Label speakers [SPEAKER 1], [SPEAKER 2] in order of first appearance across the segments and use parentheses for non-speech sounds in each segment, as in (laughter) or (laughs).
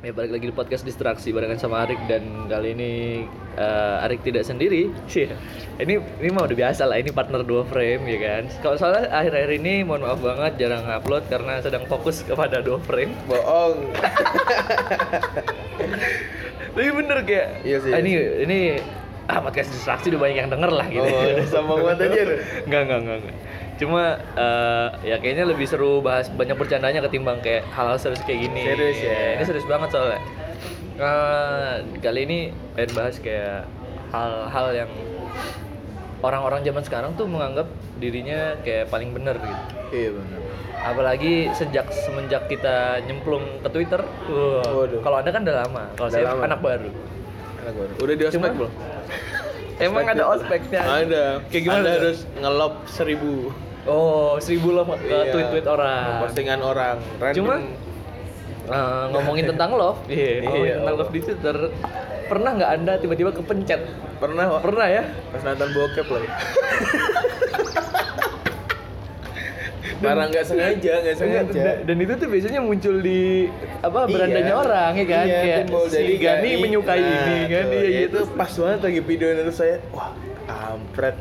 [SPEAKER 1] Ya balik lagi di podcast distraksi barengan sama Arik dan kali ini eh, Arik tidak sendiri. Iya. Ini ini mah udah biasa lah. Ini partner dua frame ya kan. Kalau soalnya akhir-akhir ini mohon maaf banget jarang upload karena sedang fokus kepada dua frame.
[SPEAKER 2] bohong
[SPEAKER 1] Tapi bener kayak.
[SPEAKER 2] Iya sih,
[SPEAKER 1] ah,
[SPEAKER 2] iya
[SPEAKER 1] Ini ini ah podcast distraksi udah banyak yang denger lah gitu.
[SPEAKER 2] Oh,
[SPEAKER 1] Udah
[SPEAKER 2] sombong banget aja lu.
[SPEAKER 1] Enggak, enggak, enggak, enggak. Cuma eh, ya kayaknya lebih seru bahas banyak bercandanya ketimbang kayak hal-hal serius kayak gini.
[SPEAKER 2] Serius ya.
[SPEAKER 1] Ini serius banget soalnya. Eh, kali ini pengen bahas kayak hal-hal yang orang-orang zaman sekarang tuh menganggap dirinya kayak paling bener gitu.
[SPEAKER 2] iya benar
[SPEAKER 1] Apalagi sejak semenjak kita nyemplung ke Twitter. Wah,
[SPEAKER 2] Waduh.
[SPEAKER 1] Kalau Anda kan udah lama, kalau
[SPEAKER 2] Udah
[SPEAKER 1] saya
[SPEAKER 2] lama.
[SPEAKER 1] anak baru.
[SPEAKER 2] Enak banget. udah di ospek
[SPEAKER 1] Cuma-
[SPEAKER 2] belum
[SPEAKER 1] (laughs) Emang
[SPEAKER 2] Ospek
[SPEAKER 1] ada
[SPEAKER 2] belum?
[SPEAKER 1] ospeknya.
[SPEAKER 2] ada
[SPEAKER 1] Kayak gimana
[SPEAKER 2] Anda
[SPEAKER 1] tuh?
[SPEAKER 2] harus ngelop seribu
[SPEAKER 1] Oh, seribu love ke
[SPEAKER 2] Iya.
[SPEAKER 1] tweet-tweet orang.
[SPEAKER 2] postingan orang random
[SPEAKER 1] Cuma eh, ngomongin tentang love,
[SPEAKER 2] (laughs) Iya.
[SPEAKER 1] ngomongin
[SPEAKER 2] Iya,
[SPEAKER 1] tentang
[SPEAKER 2] Allah.
[SPEAKER 1] love di Twitter, pernah nggak anda tiba-tiba kepencet?
[SPEAKER 2] pernah Wak?
[SPEAKER 1] Pernah ya?
[SPEAKER 2] pas nonton bokep
[SPEAKER 1] (laughs)
[SPEAKER 2] lagi Barang nggak sengaja, nggak sengaja.
[SPEAKER 1] Dan, dan itu tuh biasanya muncul di apa
[SPEAKER 2] Iya.
[SPEAKER 1] berandanya orang ya kan?
[SPEAKER 2] Iya,
[SPEAKER 1] Kayak
[SPEAKER 2] timbul
[SPEAKER 1] si
[SPEAKER 2] dari
[SPEAKER 1] Gani menyukai
[SPEAKER 2] Nah,
[SPEAKER 1] ini kan,
[SPEAKER 2] tuh.
[SPEAKER 1] iya
[SPEAKER 2] Ya,
[SPEAKER 1] gitu.
[SPEAKER 2] Itu pas banget lagi video terus saya, wah, kampret.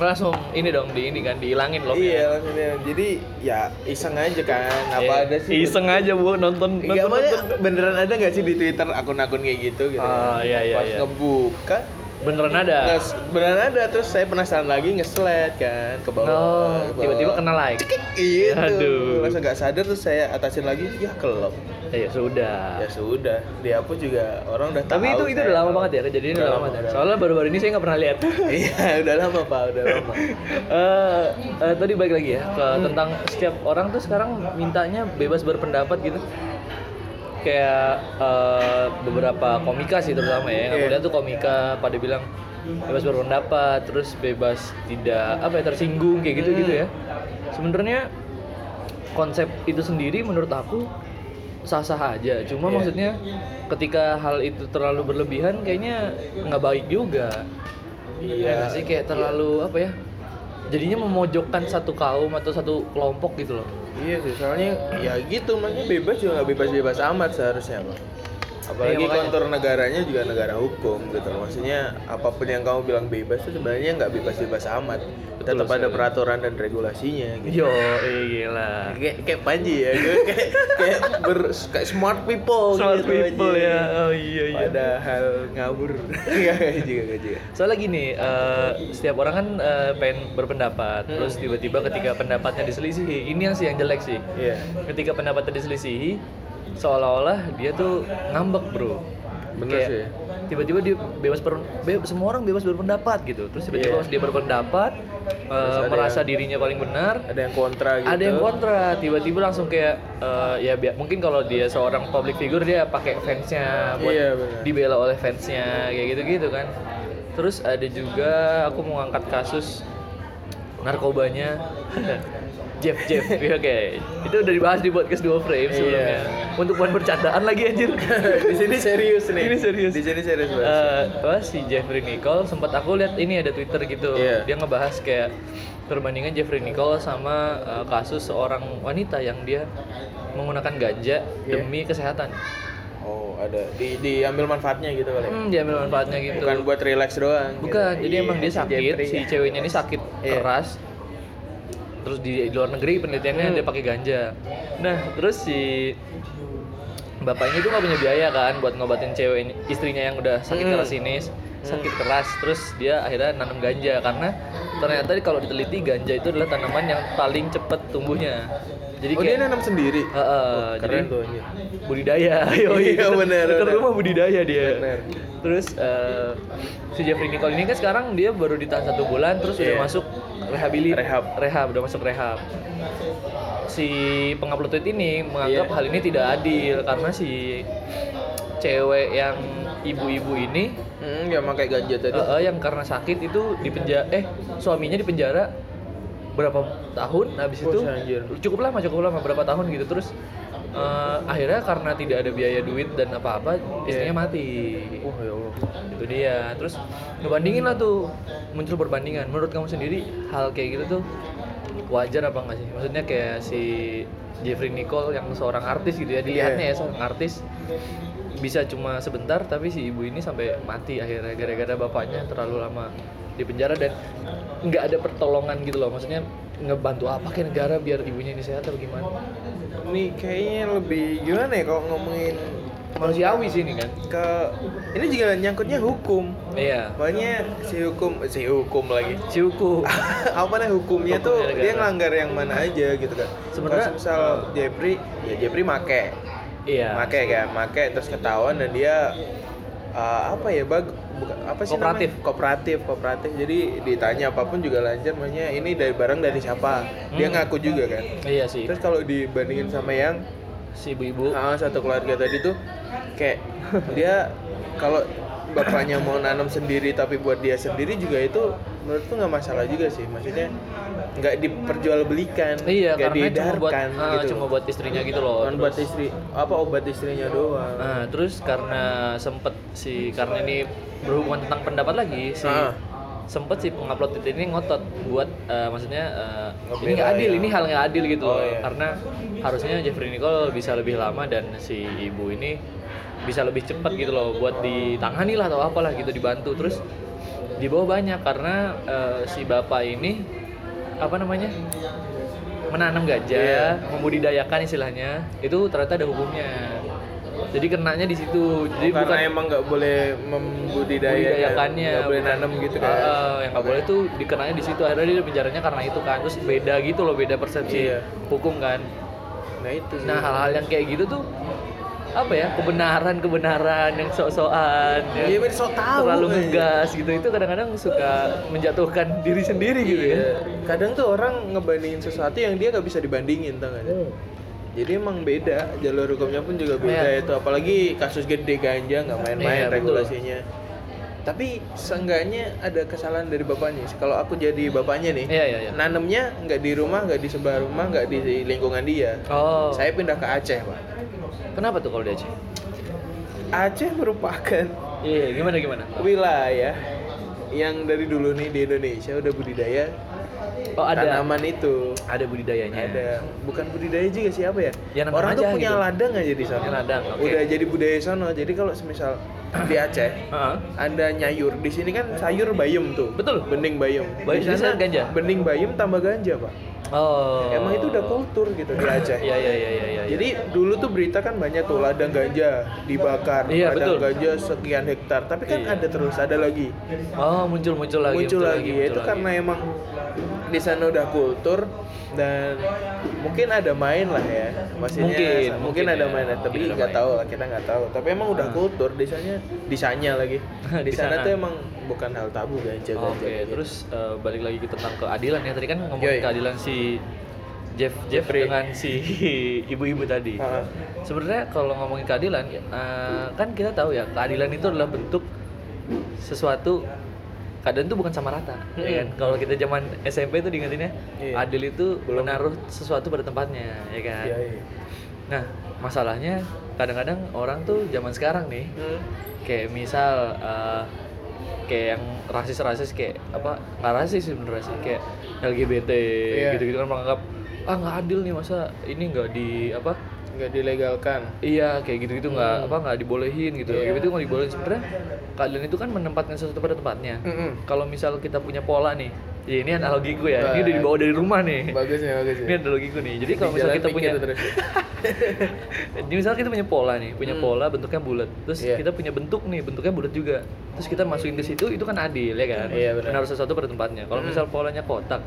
[SPEAKER 1] Langsung ini dong di ini kan dihilangin love.
[SPEAKER 2] iya, maksudnya. Jadi ya iseng aja kan. Apa ada sih?
[SPEAKER 1] Iya. Iseng aja bu nonton nonton.
[SPEAKER 2] Enggak maksudnya
[SPEAKER 1] nonton.
[SPEAKER 2] beneran ada nggak sih di Twitter akun-akun kayak gitu gitu.
[SPEAKER 1] Ah, iya, iya,
[SPEAKER 2] Pas
[SPEAKER 1] iya. Ah.
[SPEAKER 2] ngebuka
[SPEAKER 1] Beneran ada.
[SPEAKER 2] nges- beneran ada terus saya penasaran lagi ngeslide kan ke bawah.
[SPEAKER 1] Oh,
[SPEAKER 2] ke bawah.
[SPEAKER 1] tiba-tiba kena like.
[SPEAKER 2] Iya
[SPEAKER 1] Aduh.
[SPEAKER 2] tuh. Masa nggak sadar terus saya atasin lagi, ya kelop.
[SPEAKER 1] Ya sudah.
[SPEAKER 2] Ya sudah, dihapus juga orang udah
[SPEAKER 1] Tapi itu
[SPEAKER 2] tahu
[SPEAKER 1] itu
[SPEAKER 2] saya
[SPEAKER 1] udah lama
[SPEAKER 2] kelop.
[SPEAKER 1] banget ya kejadiannya
[SPEAKER 2] Udah
[SPEAKER 1] udah lama banget.
[SPEAKER 2] udah
[SPEAKER 1] ya. Soalnya baru-baru ini saya nggak pernah lihat.
[SPEAKER 2] (laughs) Iya, udah lama Pak, udah lama.
[SPEAKER 1] (laughs) Eh, eh, tadi balik lagi ya ke tentang setiap orang tuh sekarang mintanya bebas berpendapat gitu. Kayak eh, beberapa komika sih terutama ya. Yang aku
[SPEAKER 2] Iya.
[SPEAKER 1] lihat tuh komika pada bilang bebas berpendapat, terus bebas tidak apa ya tersinggung kayak gitu-gitu
[SPEAKER 2] Hmm.
[SPEAKER 1] ya. Sebenarnya konsep itu sendiri menurut aku sah-sah aja. Cuma
[SPEAKER 2] Iya.
[SPEAKER 1] maksudnya ketika hal itu terlalu berlebihan kayaknya nggak baik juga. Iya nggak sih kayak terlalu apa ya? Jadinya memojokkan satu kaum atau satu kelompok gitu loh.
[SPEAKER 2] Iya sih, soalnya ya gitu makanya bebas juga nggak bebas-bebas amat seharusnya Pak.
[SPEAKER 1] Iya,
[SPEAKER 2] Apalagi
[SPEAKER 1] makanya.
[SPEAKER 2] kontur negaranya juga negara hukum gitu. loh. Maksudnya apapun yang kamu bilang bebas itu sebenarnya nggak bebas-bebas amat.
[SPEAKER 1] Betul
[SPEAKER 2] Tetap ada
[SPEAKER 1] sekali. Iya.
[SPEAKER 2] peraturan dan regulasinya gitu.
[SPEAKER 1] Yo, gila.
[SPEAKER 2] Kayak kayak Panji ya, gue (laughs) kayak kayak, ber, kayak smart people
[SPEAKER 1] Smart
[SPEAKER 2] gitu
[SPEAKER 1] people
[SPEAKER 2] aja.
[SPEAKER 1] ya. Oh iya iya.
[SPEAKER 2] Padahal (laughs) ngabur. Enggak enggak juga enggak juga.
[SPEAKER 1] Soalnya gini, eh, setiap orang kan eh, pengen berpendapat, terus tiba-tiba ketika pendapatnya diselisihi, ini yang sih yang jelek sih.
[SPEAKER 2] Iya.
[SPEAKER 1] ketika pendapatnya diselisihi seolah-olah dia tuh ngambek bro
[SPEAKER 2] Bener sih.
[SPEAKER 1] tiba-tiba dia bebas ber, be- semua orang bebas berpendapat gitu terus tiba-tiba
[SPEAKER 2] Iya.
[SPEAKER 1] pas dia berpendapat eh,
[SPEAKER 2] ada
[SPEAKER 1] merasa
[SPEAKER 2] yang-
[SPEAKER 1] dirinya paling benar
[SPEAKER 2] Ada yang kontra gitu.
[SPEAKER 1] ada yang kontra tiba-tiba langsung kayak eh, ya bi- mungkin kalau dia seorang public figure dia pakai fansnya buat
[SPEAKER 2] Iya, benar. (laughs)
[SPEAKER 1] dibela oleh fansnya kayak gitu-gitu kan terus ada juga aku mau angkat kasus narkobanya (laughs) Jeff Jeff ya oke itu udah dibahas di podcast dua frame
[SPEAKER 2] Iya.
[SPEAKER 1] sebelumnya untuk buat bercandaan lagi anjir
[SPEAKER 2] (laughs) di sini serius nih.
[SPEAKER 1] Ini serius.
[SPEAKER 2] Di sini serius banget.
[SPEAKER 1] Eh, apa si Jeffrey Nicole sempat aku lihat ini ada Twitter gitu.
[SPEAKER 2] Iya.
[SPEAKER 1] Dia ngebahas kayak perbandingan Jeffrey Nicole sama eh, kasus seorang wanita yang dia menggunakan ganja
[SPEAKER 2] Iya.
[SPEAKER 1] demi kesehatan.
[SPEAKER 2] Oh, ada di diambil manfaatnya gitu kali. ya?
[SPEAKER 1] Hmm, dia ambil manfaatnya gitu.
[SPEAKER 2] Bukan buat relax doang. gitu.
[SPEAKER 1] Bukan, jadi
[SPEAKER 2] Iya,
[SPEAKER 1] emang dia
[SPEAKER 2] si
[SPEAKER 1] sakit,
[SPEAKER 2] Jeffrey.
[SPEAKER 1] si ceweknya ini sakit
[SPEAKER 2] Iya.
[SPEAKER 1] keras. Terus di, di luar negeri penelitiannya
[SPEAKER 2] Hmm.
[SPEAKER 1] dia pakai ganja. Nah, terus si bapaknya itu nggak punya biaya kan buat ngobatin cewek ini- istrinya yang udah sakit
[SPEAKER 2] Mm.
[SPEAKER 1] keras ini,
[SPEAKER 2] Hmm.
[SPEAKER 1] sakit keras. Terus dia akhirnya nanam ganja karena ternyata kalau diteliti ganja itu adalah tanaman yang paling cepet tumbuhnya. Jadi
[SPEAKER 2] Oh, dia
[SPEAKER 1] kayak
[SPEAKER 2] nanam sendiri.
[SPEAKER 1] Heeh, jadi
[SPEAKER 2] Oh, Keren tuh anjir.
[SPEAKER 1] budidaya (laughs) yoi.
[SPEAKER 2] Iya, benar,
[SPEAKER 1] Dekat
[SPEAKER 2] benar.
[SPEAKER 1] rumah budidaya dia
[SPEAKER 2] Benar.
[SPEAKER 1] terus eh, si Jeffrey Nicole ini kan sekarang dia baru ditahan satu bulan terus udah
[SPEAKER 2] Iya.
[SPEAKER 1] masuk rehabilitasi
[SPEAKER 2] Rehab.
[SPEAKER 1] rehab udah masuk rehab si pengupload tweet ini menganggap
[SPEAKER 2] Iya.
[SPEAKER 1] hal ini tidak adil karena si cewek yang ibu-ibu ini
[SPEAKER 2] Hmm, ya pakai ganja tadi.
[SPEAKER 1] eh, eh, yang karena sakit itu dipenjara eh suaminya dipenjara berapa tahun habis
[SPEAKER 2] Oh,
[SPEAKER 1] itu
[SPEAKER 2] si anjir.
[SPEAKER 1] cukup lama cukup lama berapa tahun gitu terus eh, akhirnya karena tidak ada biaya duit dan apa-apa
[SPEAKER 2] Iya.
[SPEAKER 1] istrinya mati
[SPEAKER 2] Wah, ya Allah.
[SPEAKER 1] Kan, itu dia terus ngebandingin lah tuh muncul perbandingan menurut kamu sendiri hal kayak gitu tuh wajar apa enggak sih? Maksudnya kayak si Jeffrey Nicole yang seorang artis gitu ya dilihatnya
[SPEAKER 2] Iya.
[SPEAKER 1] ya seorang artis bisa cuma sebentar tapi si ibu ini sampai mati akhirnya gara-gara bapaknya terlalu lama di penjara dan nggak ada pertolongan gitu loh maksudnya ngebantu apa ke negara biar ibunya ini sehat atau gimana
[SPEAKER 2] Ini kayaknya lebih gimana ya kalau ngomongin
[SPEAKER 1] manusiawi sih ini kan
[SPEAKER 2] ke ini juga nyangkutnya hukum.
[SPEAKER 1] iya
[SPEAKER 2] Makanya si hukum eh, si hukum lagi. (laughs)
[SPEAKER 1] si Uku
[SPEAKER 2] apa nih hukumnya tuh
[SPEAKER 1] Hukumnya negara.
[SPEAKER 2] dia ngelanggar yang mana aja gitu kan.
[SPEAKER 1] Sebenarnya-
[SPEAKER 2] Kalau misal Jeffrey, ya Jeffrey make.
[SPEAKER 1] iya
[SPEAKER 2] make kan make terus ketahuan dan dia uh, apa ya bag bukan apa sih
[SPEAKER 1] Kooperatif.
[SPEAKER 2] namanya? kooperatif kooperatif jadi ditanya apapun juga lancar makanya ini dari barang dari siapa dia
[SPEAKER 1] Hmm.
[SPEAKER 2] ngaku juga kan
[SPEAKER 1] iya sih
[SPEAKER 2] terus kalau dibandingin sama yang
[SPEAKER 1] si ibu-ibu
[SPEAKER 2] ah, satu keluarga tadi tuh kayak dia kalau bapaknya mau nanam sendiri tapi buat dia sendiri juga itu menurutku nggak masalah juga sih maksudnya nggak diperjualbelikan
[SPEAKER 1] iya karena
[SPEAKER 2] nggak
[SPEAKER 1] cuma buat
[SPEAKER 2] diedarkan
[SPEAKER 1] ah,
[SPEAKER 2] gitu
[SPEAKER 1] cuma buat istrinya gitu loh
[SPEAKER 2] Cuman buat istri apa obat istrinya doang
[SPEAKER 1] Nah, terus karena sempet si karena ini berhubungan tentang pendapat lagi si
[SPEAKER 2] Ah.
[SPEAKER 1] sempet si pengupload itu ini ngotot buat eh, maksudnya eh,
[SPEAKER 2] Ngebela
[SPEAKER 1] ini nggak adil
[SPEAKER 2] ya.
[SPEAKER 1] ini hal nggak adil gitu
[SPEAKER 2] Oh,
[SPEAKER 1] loh.
[SPEAKER 2] iya.
[SPEAKER 1] karena harusnya Jeffrey Nicole bisa lebih lama dan si ibu ini bisa lebih cepat gitu loh buat ditangani lah atau apalah gitu dibantu terus di bawah banyak karena eh, si bapak ini apa namanya menanam gajah,
[SPEAKER 2] Iya.
[SPEAKER 1] membudidayakan istilahnya itu ternyata ada hukumnya. Jadi kenanya di situ. Jadi
[SPEAKER 2] Oh, karena
[SPEAKER 1] bukan
[SPEAKER 2] emang nggak boleh membudidayakan
[SPEAKER 1] membudidayakannya,
[SPEAKER 2] nggak boleh
[SPEAKER 1] bukan-
[SPEAKER 2] nanam gitu
[SPEAKER 1] Ah,
[SPEAKER 2] kan
[SPEAKER 1] ah, yang nggak boleh tuh dikenanya di situ. Akhirnya dia penjaranya karena itu kan. Terus beda gitu loh, beda persepsi
[SPEAKER 2] Iya.
[SPEAKER 1] hukum kan.
[SPEAKER 2] nah itu sih.
[SPEAKER 1] Nah hal-hal yang kayak gitu tuh apa ya kebenaran-kebenaran yang sok-sokan. yang
[SPEAKER 2] Iya, men, sok tahu
[SPEAKER 1] terlalu
[SPEAKER 2] aja.
[SPEAKER 1] ngegas gitu itu kadang-kadang suka menjatuhkan diri sendiri gitu ya.
[SPEAKER 2] Iya. kadang tuh orang ngebandingin sesuatu yang dia nggak bisa dibandingin
[SPEAKER 1] Hmm.
[SPEAKER 2] tau nggak sih? jadi emang beda jalur hukumnya pun juga beda
[SPEAKER 1] Iya.
[SPEAKER 2] itu apalagi kasus gede ganja nggak main-main
[SPEAKER 1] Iya, betul.
[SPEAKER 2] regulasinya tapi seenggaknya ada kesalahan dari bapaknya kalau aku jadi bapaknya nih
[SPEAKER 1] Iya iya iya.
[SPEAKER 2] nanamnya nggak di rumah nggak di sebelah rumah nggak di lingkungan dia
[SPEAKER 1] Oh.
[SPEAKER 2] saya pindah ke Aceh pak
[SPEAKER 1] Kenapa tuh kalau di Aceh?
[SPEAKER 2] Aceh merupakan
[SPEAKER 1] Iya, gimana gimana?
[SPEAKER 2] wilayah yang dari dulu nih di Indonesia udah budidaya
[SPEAKER 1] Oh ada
[SPEAKER 2] tanaman itu
[SPEAKER 1] ada budidayanya.
[SPEAKER 2] ada bukan budidaya juga sih apa ya,
[SPEAKER 1] Ya, nanam
[SPEAKER 2] orang tuh
[SPEAKER 1] aja
[SPEAKER 2] punya
[SPEAKER 1] gitu.
[SPEAKER 2] ladang aja di sana
[SPEAKER 1] Punya ladang, oke.
[SPEAKER 2] udah jadi budaya sono jadi kalau semisal di Aceh
[SPEAKER 1] Heeh.
[SPEAKER 2] ada nyayur di sini kan sayur bayem tuh
[SPEAKER 1] Betul.
[SPEAKER 2] bening bayem
[SPEAKER 1] Bayem, di sana ganja?
[SPEAKER 2] bening bayem tambah ganja pak
[SPEAKER 1] Oh.
[SPEAKER 2] emang itu udah kultur gitu di Aceh
[SPEAKER 1] Iya iya iya iya. iya.
[SPEAKER 2] Jadi dulu tuh berita kan banyak tuh ladang ganja dibakar,
[SPEAKER 1] Iya,
[SPEAKER 2] ladang
[SPEAKER 1] betul.
[SPEAKER 2] ganja sekian hektar. Tapi kan
[SPEAKER 1] Iya.
[SPEAKER 2] ada terus, ada lagi,
[SPEAKER 1] oh muncul muncul lagi.
[SPEAKER 2] muncul lagi. ya,
[SPEAKER 1] muncul
[SPEAKER 2] itu kan
[SPEAKER 1] lagi.
[SPEAKER 2] karena emang di sana udah kultur dan mungkin ada main lah ya, maksudnya
[SPEAKER 1] Mungkin,
[SPEAKER 2] mungkin,
[SPEAKER 1] mungkin
[SPEAKER 2] ada
[SPEAKER 1] ya.
[SPEAKER 2] main, lah. tapi
[SPEAKER 1] Mungkin ada
[SPEAKER 2] nggak
[SPEAKER 1] main. Hmm.
[SPEAKER 2] tahu lah kita nggak tahu. Tapi emang udah kultur di sana, di sana lagi. Di
[SPEAKER 1] (laughs) Di
[SPEAKER 2] sana
[SPEAKER 1] sana.
[SPEAKER 2] tuh emang bukan hal tabu gitu. ganja ganja.
[SPEAKER 1] Oke, terus eh, balik lagi ke tentang keadilan ya. Tadi kan ngomongin
[SPEAKER 2] Yoi.
[SPEAKER 1] keadilan si Jeff Jeff
[SPEAKER 2] Jeffrey. Ah.
[SPEAKER 1] dengan si (laughs) ibu-ibu tadi.
[SPEAKER 2] Ha-ha.
[SPEAKER 1] Sebenarnya kalau ngomongin keadilan, eh, kan kita tahu ya keadilan itu adalah bentuk sesuatu keadaan itu bukan sama rata, ya kan?
[SPEAKER 2] Mm-mm.
[SPEAKER 1] Kalau kita zaman SMP itu diingetinnya
[SPEAKER 2] Hmm. Iya.
[SPEAKER 1] adil itu
[SPEAKER 2] Belum.
[SPEAKER 1] menaruh sesuatu pada tempatnya, ya kan?
[SPEAKER 2] Iya, iya.
[SPEAKER 1] Nah, masalahnya kadang-kadang orang tuh zaman sekarang nih,
[SPEAKER 2] Hmm.
[SPEAKER 1] kayak misal eh, kayak yang rasis-rasis kayak apa nggak rasis sih bener sih kayak LGBT
[SPEAKER 2] Iya.
[SPEAKER 1] gitu-gitu kan menganggap ah nggak adil nih masa ini nggak di apa
[SPEAKER 2] nggak dilegalkan.
[SPEAKER 1] iya kayak gitu-gitu nggak apa nggak dibolehin gitu
[SPEAKER 2] Hmm. Iya.
[SPEAKER 1] LGBT nggak dibolehin sebenarnya keadilan itu kan menempatkan sesuatu pada tempatnya
[SPEAKER 2] Mm-mm.
[SPEAKER 1] kalau misal kita punya pola nih ya ini analogiku ya ini
[SPEAKER 2] Baik.
[SPEAKER 1] udah dibawa dari rumah nih
[SPEAKER 2] Bagus ya, bagus ya.
[SPEAKER 1] ini analogiku nih jadi kalau
[SPEAKER 2] Di
[SPEAKER 1] misal
[SPEAKER 2] jalan
[SPEAKER 1] kita
[SPEAKER 2] mikir
[SPEAKER 1] punya (laughs)
[SPEAKER 2] terus.
[SPEAKER 1] jadi misalnya kita punya pola nih, punya
[SPEAKER 2] Hmm.
[SPEAKER 1] pola bentuknya bulat. Terus
[SPEAKER 2] Iya.
[SPEAKER 1] kita punya bentuk nih, bentuknya bulat juga. Terus kita masukin ke situ, itu kan adil ya kan?
[SPEAKER 2] Iya, benar. Hmm.
[SPEAKER 1] Menaruh sesuatu pada tempatnya. Kalau misal polanya kotak,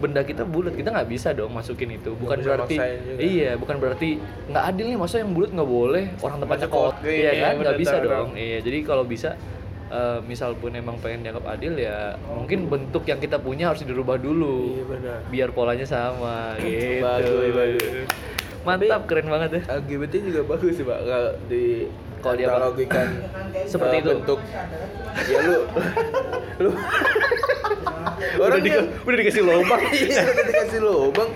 [SPEAKER 1] benda kita bulat, kita nggak bisa dong masukin itu. Bukan
[SPEAKER 2] bisa
[SPEAKER 1] berarti
[SPEAKER 2] maksain juga.
[SPEAKER 1] iya, bukan berarti nggak adil nih masa yang bulat nggak boleh, orang tempatnya
[SPEAKER 2] Masa kotak,
[SPEAKER 1] kotak. Iya
[SPEAKER 2] iya,
[SPEAKER 1] kan? Nggak
[SPEAKER 2] benar,
[SPEAKER 1] bisa
[SPEAKER 2] tahu, tahu.
[SPEAKER 1] dong. Iya, jadi kalau bisa eh, misal pun emang pengen dianggap adil ya mungkin bentuk yang kita punya harus dirubah dulu
[SPEAKER 2] Iya benar.
[SPEAKER 1] biar polanya sama gitu
[SPEAKER 2] (laughs) Bagus, bagus.
[SPEAKER 1] mantap keren banget ya
[SPEAKER 2] LGBT juga bagus sih pak kalau di
[SPEAKER 1] Kalau dia apa?
[SPEAKER 2] analogikan
[SPEAKER 1] Seperti
[SPEAKER 2] eh,
[SPEAKER 1] itu.
[SPEAKER 2] bentuk ya lu
[SPEAKER 1] (laughs)
[SPEAKER 2] lu
[SPEAKER 1] udah,
[SPEAKER 2] orang
[SPEAKER 1] di,
[SPEAKER 2] yang
[SPEAKER 1] udah dikasih lubang
[SPEAKER 2] (laughs) iya udah dikasih lubang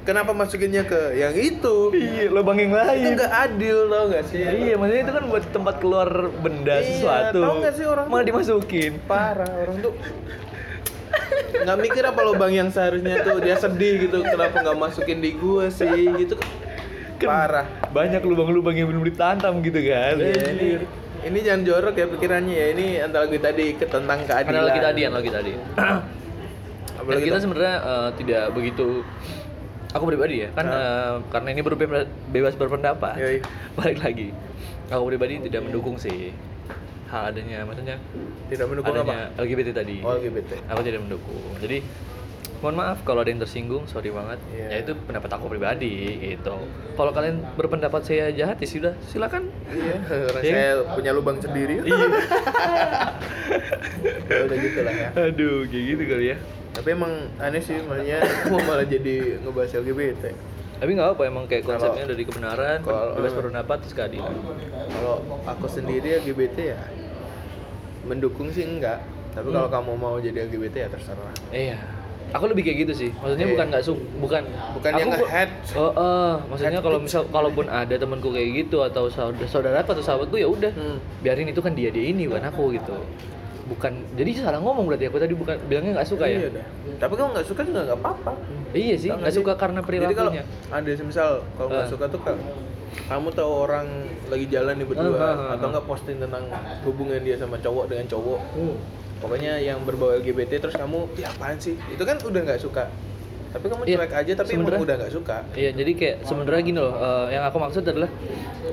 [SPEAKER 2] kenapa masukinnya ke yang itu
[SPEAKER 1] iya lubang yang lain
[SPEAKER 2] itu nggak adil tau nggak sih
[SPEAKER 1] iya maksudnya itu kan buat tempat keluar benda
[SPEAKER 2] Iya,
[SPEAKER 1] sesuatu
[SPEAKER 2] tahu nggak sih orang
[SPEAKER 1] malah
[SPEAKER 2] tuh-
[SPEAKER 1] dimasukin
[SPEAKER 2] parah orang tuh nggak mikir apa lubang yang seharusnya tuh dia sedih gitu kenapa nggak masukin di gua sih gitu
[SPEAKER 1] Kan
[SPEAKER 2] parah
[SPEAKER 1] Banyak lubang-lubang yang belum ditanam gitu kan.
[SPEAKER 2] Ya, ini, ini jangan jorok ya pikirannya ya ini analogi tadi ke- tentang keadilan
[SPEAKER 1] Analogi tadi, analogi tadi. Dan
[SPEAKER 2] Apalagi
[SPEAKER 1] kita
[SPEAKER 2] tuh?
[SPEAKER 1] sebenarnya eh, tidak begitu aku pribadi ya kan
[SPEAKER 2] Hah? Iya,
[SPEAKER 1] eh, karena ini berbe- bebas berpendapat
[SPEAKER 2] Yoi.
[SPEAKER 1] (laughs) balik lagi aku pribadi tidak mendukung sih hal adanya maksudnya
[SPEAKER 2] tidak mendukung apa
[SPEAKER 1] adanya LGBT tadi
[SPEAKER 2] oh LGBT
[SPEAKER 1] aku tidak mendukung jadi mohon maaf kalau ada yang tersinggung sorry banget
[SPEAKER 2] Iya.
[SPEAKER 1] ya itu pendapat aku pribadi gitu kalau kalian berpendapat saya jahat ya sudah silakan
[SPEAKER 2] iya orang
[SPEAKER 1] Iya.
[SPEAKER 2] saya punya lubang sendiri
[SPEAKER 1] Iya.
[SPEAKER 2] (laughs) Ya udah gitu lah ya
[SPEAKER 1] (laughs) aduh kayak gitu kali ya
[SPEAKER 2] tapi emang aneh sih makanya gua malah jadi ngebahas LGBT
[SPEAKER 1] tapi nggak apa emang kayak
[SPEAKER 2] Kalau-
[SPEAKER 1] konsepnya dari kebenaran
[SPEAKER 2] kalau-
[SPEAKER 1] bebas berpendapat terus keadilan
[SPEAKER 2] kalau aku sendiri LGBT ya mendukung sih enggak tapi kalau
[SPEAKER 1] Hmm.
[SPEAKER 2] kamu mau jadi LGBT ya terserah
[SPEAKER 1] Iya. Aku lebih kayak gitu sih. Maksudnya
[SPEAKER 2] Iya.
[SPEAKER 1] bukan nggak su bukan
[SPEAKER 2] Bukan yang
[SPEAKER 1] aku-
[SPEAKER 2] nge-hate.
[SPEAKER 1] Oh, oh. maksudnya
[SPEAKER 2] Hate
[SPEAKER 1] kalau
[SPEAKER 2] speech.
[SPEAKER 1] misal kalaupun ada temanku kayak gitu atau saudara saudara atau sahabatku ya udah
[SPEAKER 2] Hmm.
[SPEAKER 1] biarin itu kan dia dia ini bukan aku gitu. Bukan jadi salah ngomong berarti aku tadi bukan bilangnya nggak suka
[SPEAKER 2] Iya
[SPEAKER 1] ya.
[SPEAKER 2] udah. Tapi kamu nggak suka juga nggak apa-apa.
[SPEAKER 1] Iya sih,
[SPEAKER 2] Tau
[SPEAKER 1] nggak
[SPEAKER 2] sih?
[SPEAKER 1] suka karena
[SPEAKER 2] Jadi kalau
[SPEAKER 1] perilakunya.
[SPEAKER 2] ada semisal kalau nggak
[SPEAKER 1] Ah.
[SPEAKER 2] suka tuh kan kamu tahu orang lagi jalan nih berdua
[SPEAKER 1] Ah, ah, ah,
[SPEAKER 2] atau
[SPEAKER 1] ah.
[SPEAKER 2] nggak posting tentang hubungan dia sama cowok dengan cowok
[SPEAKER 1] Hmm.
[SPEAKER 2] pokoknya yang berbau LGBT terus kamu ya apaan sih itu kan udah nggak suka tapi kamu
[SPEAKER 1] Iya,
[SPEAKER 2] cuek aja tapi emang
[SPEAKER 1] sebenernya-
[SPEAKER 2] udah nggak suka
[SPEAKER 1] Iya, jadi kayak sebenarnya gini loh, eh, yang aku maksud adalah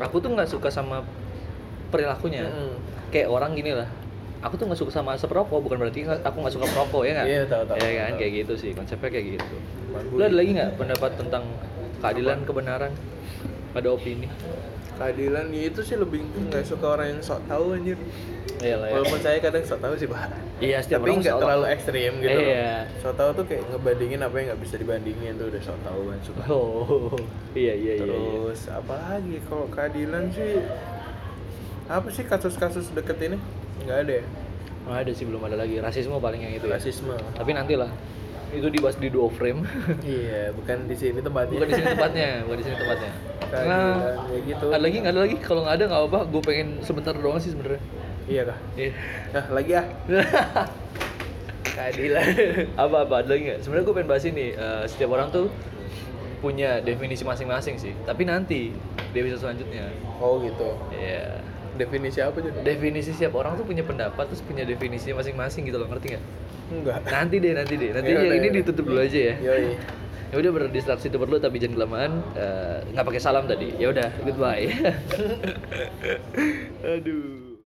[SPEAKER 1] aku tuh nggak suka sama perilakunya.
[SPEAKER 2] Mm-mm.
[SPEAKER 1] Kayak orang gini lah. Aku tuh nggak suka sama asap rokok, bukan berarti nggak- aku nggak suka perokok ya nggak?
[SPEAKER 2] Iya, tahu, tahu,
[SPEAKER 1] Iya
[SPEAKER 2] tahu,
[SPEAKER 1] kan,
[SPEAKER 2] tahu.
[SPEAKER 1] kayak gitu sih konsepnya kayak gitu.
[SPEAKER 2] Bagus.
[SPEAKER 1] Lu ada lagi nggak pendapat tentang keadilan, kebenaran? Ada opini?
[SPEAKER 2] keadilan ya itu sih lebih nggak suka orang yang sok tahu anjir
[SPEAKER 1] Iyalah ya.
[SPEAKER 2] walaupun saya kadang sok tahu sih pak
[SPEAKER 1] Iya, setiap
[SPEAKER 2] tapi
[SPEAKER 1] orang
[SPEAKER 2] nggak
[SPEAKER 1] sok tahu.
[SPEAKER 2] terlalu ekstrim gitu loh.
[SPEAKER 1] Iya.
[SPEAKER 2] sok tahu tuh kayak ngebandingin apa yang nggak bisa dibandingin tuh udah sok tahu kan suka
[SPEAKER 1] Oh, iya iya iya. iya.
[SPEAKER 2] terus apa lagi kalau keadilan sih apa sih kasus-kasus deket ini nggak ada ya
[SPEAKER 1] Nggak Oh, ada sih belum ada lagi. Rasisme paling yang itu. Ya.
[SPEAKER 2] rasisme
[SPEAKER 1] Tapi nantilah itu dibahas di duo
[SPEAKER 2] (laughs)
[SPEAKER 1] frame.
[SPEAKER 2] iya bukan di sini tempatnya
[SPEAKER 1] bukan di sini tempatnya, bukan di sini tempatnya. Karena
[SPEAKER 2] keadilan ya gitu
[SPEAKER 1] ada lagi nggak ada lagi? Kalau nggak ada nggak apa, gue pengen sebentar doang sih sebenarnya.
[SPEAKER 2] (laughs) iya kah
[SPEAKER 1] Iya.
[SPEAKER 2] nah lagi ah
[SPEAKER 1] (laughs)
[SPEAKER 2] keadilan
[SPEAKER 1] Apa-apa ada lagi nggak? Sebenarnya gue pengen bahas ini. eh, setiap orang tuh punya definisi masing-masing sih. Tapi nanti dia bisa selanjutnya.
[SPEAKER 2] oh gitu
[SPEAKER 1] Iya.
[SPEAKER 2] definisi apa jadi
[SPEAKER 1] Definisi setiap orang tuh punya pendapat terus punya definisinya masing-masing gitu loh ngerti nggak?
[SPEAKER 2] enggak
[SPEAKER 1] Nanti deh, nanti deh, nanti
[SPEAKER 2] Yaudah,
[SPEAKER 1] aja. ini
[SPEAKER 2] yaudah.
[SPEAKER 1] ditutup dulu aja ya.
[SPEAKER 2] Iya, Yoi.
[SPEAKER 1] Ya udah berdistraksi itu perlu tapi jangan kelamaan. (laughs) Eh, Nggak pakai salam tadi. Ya udah, goodbye. Aduh.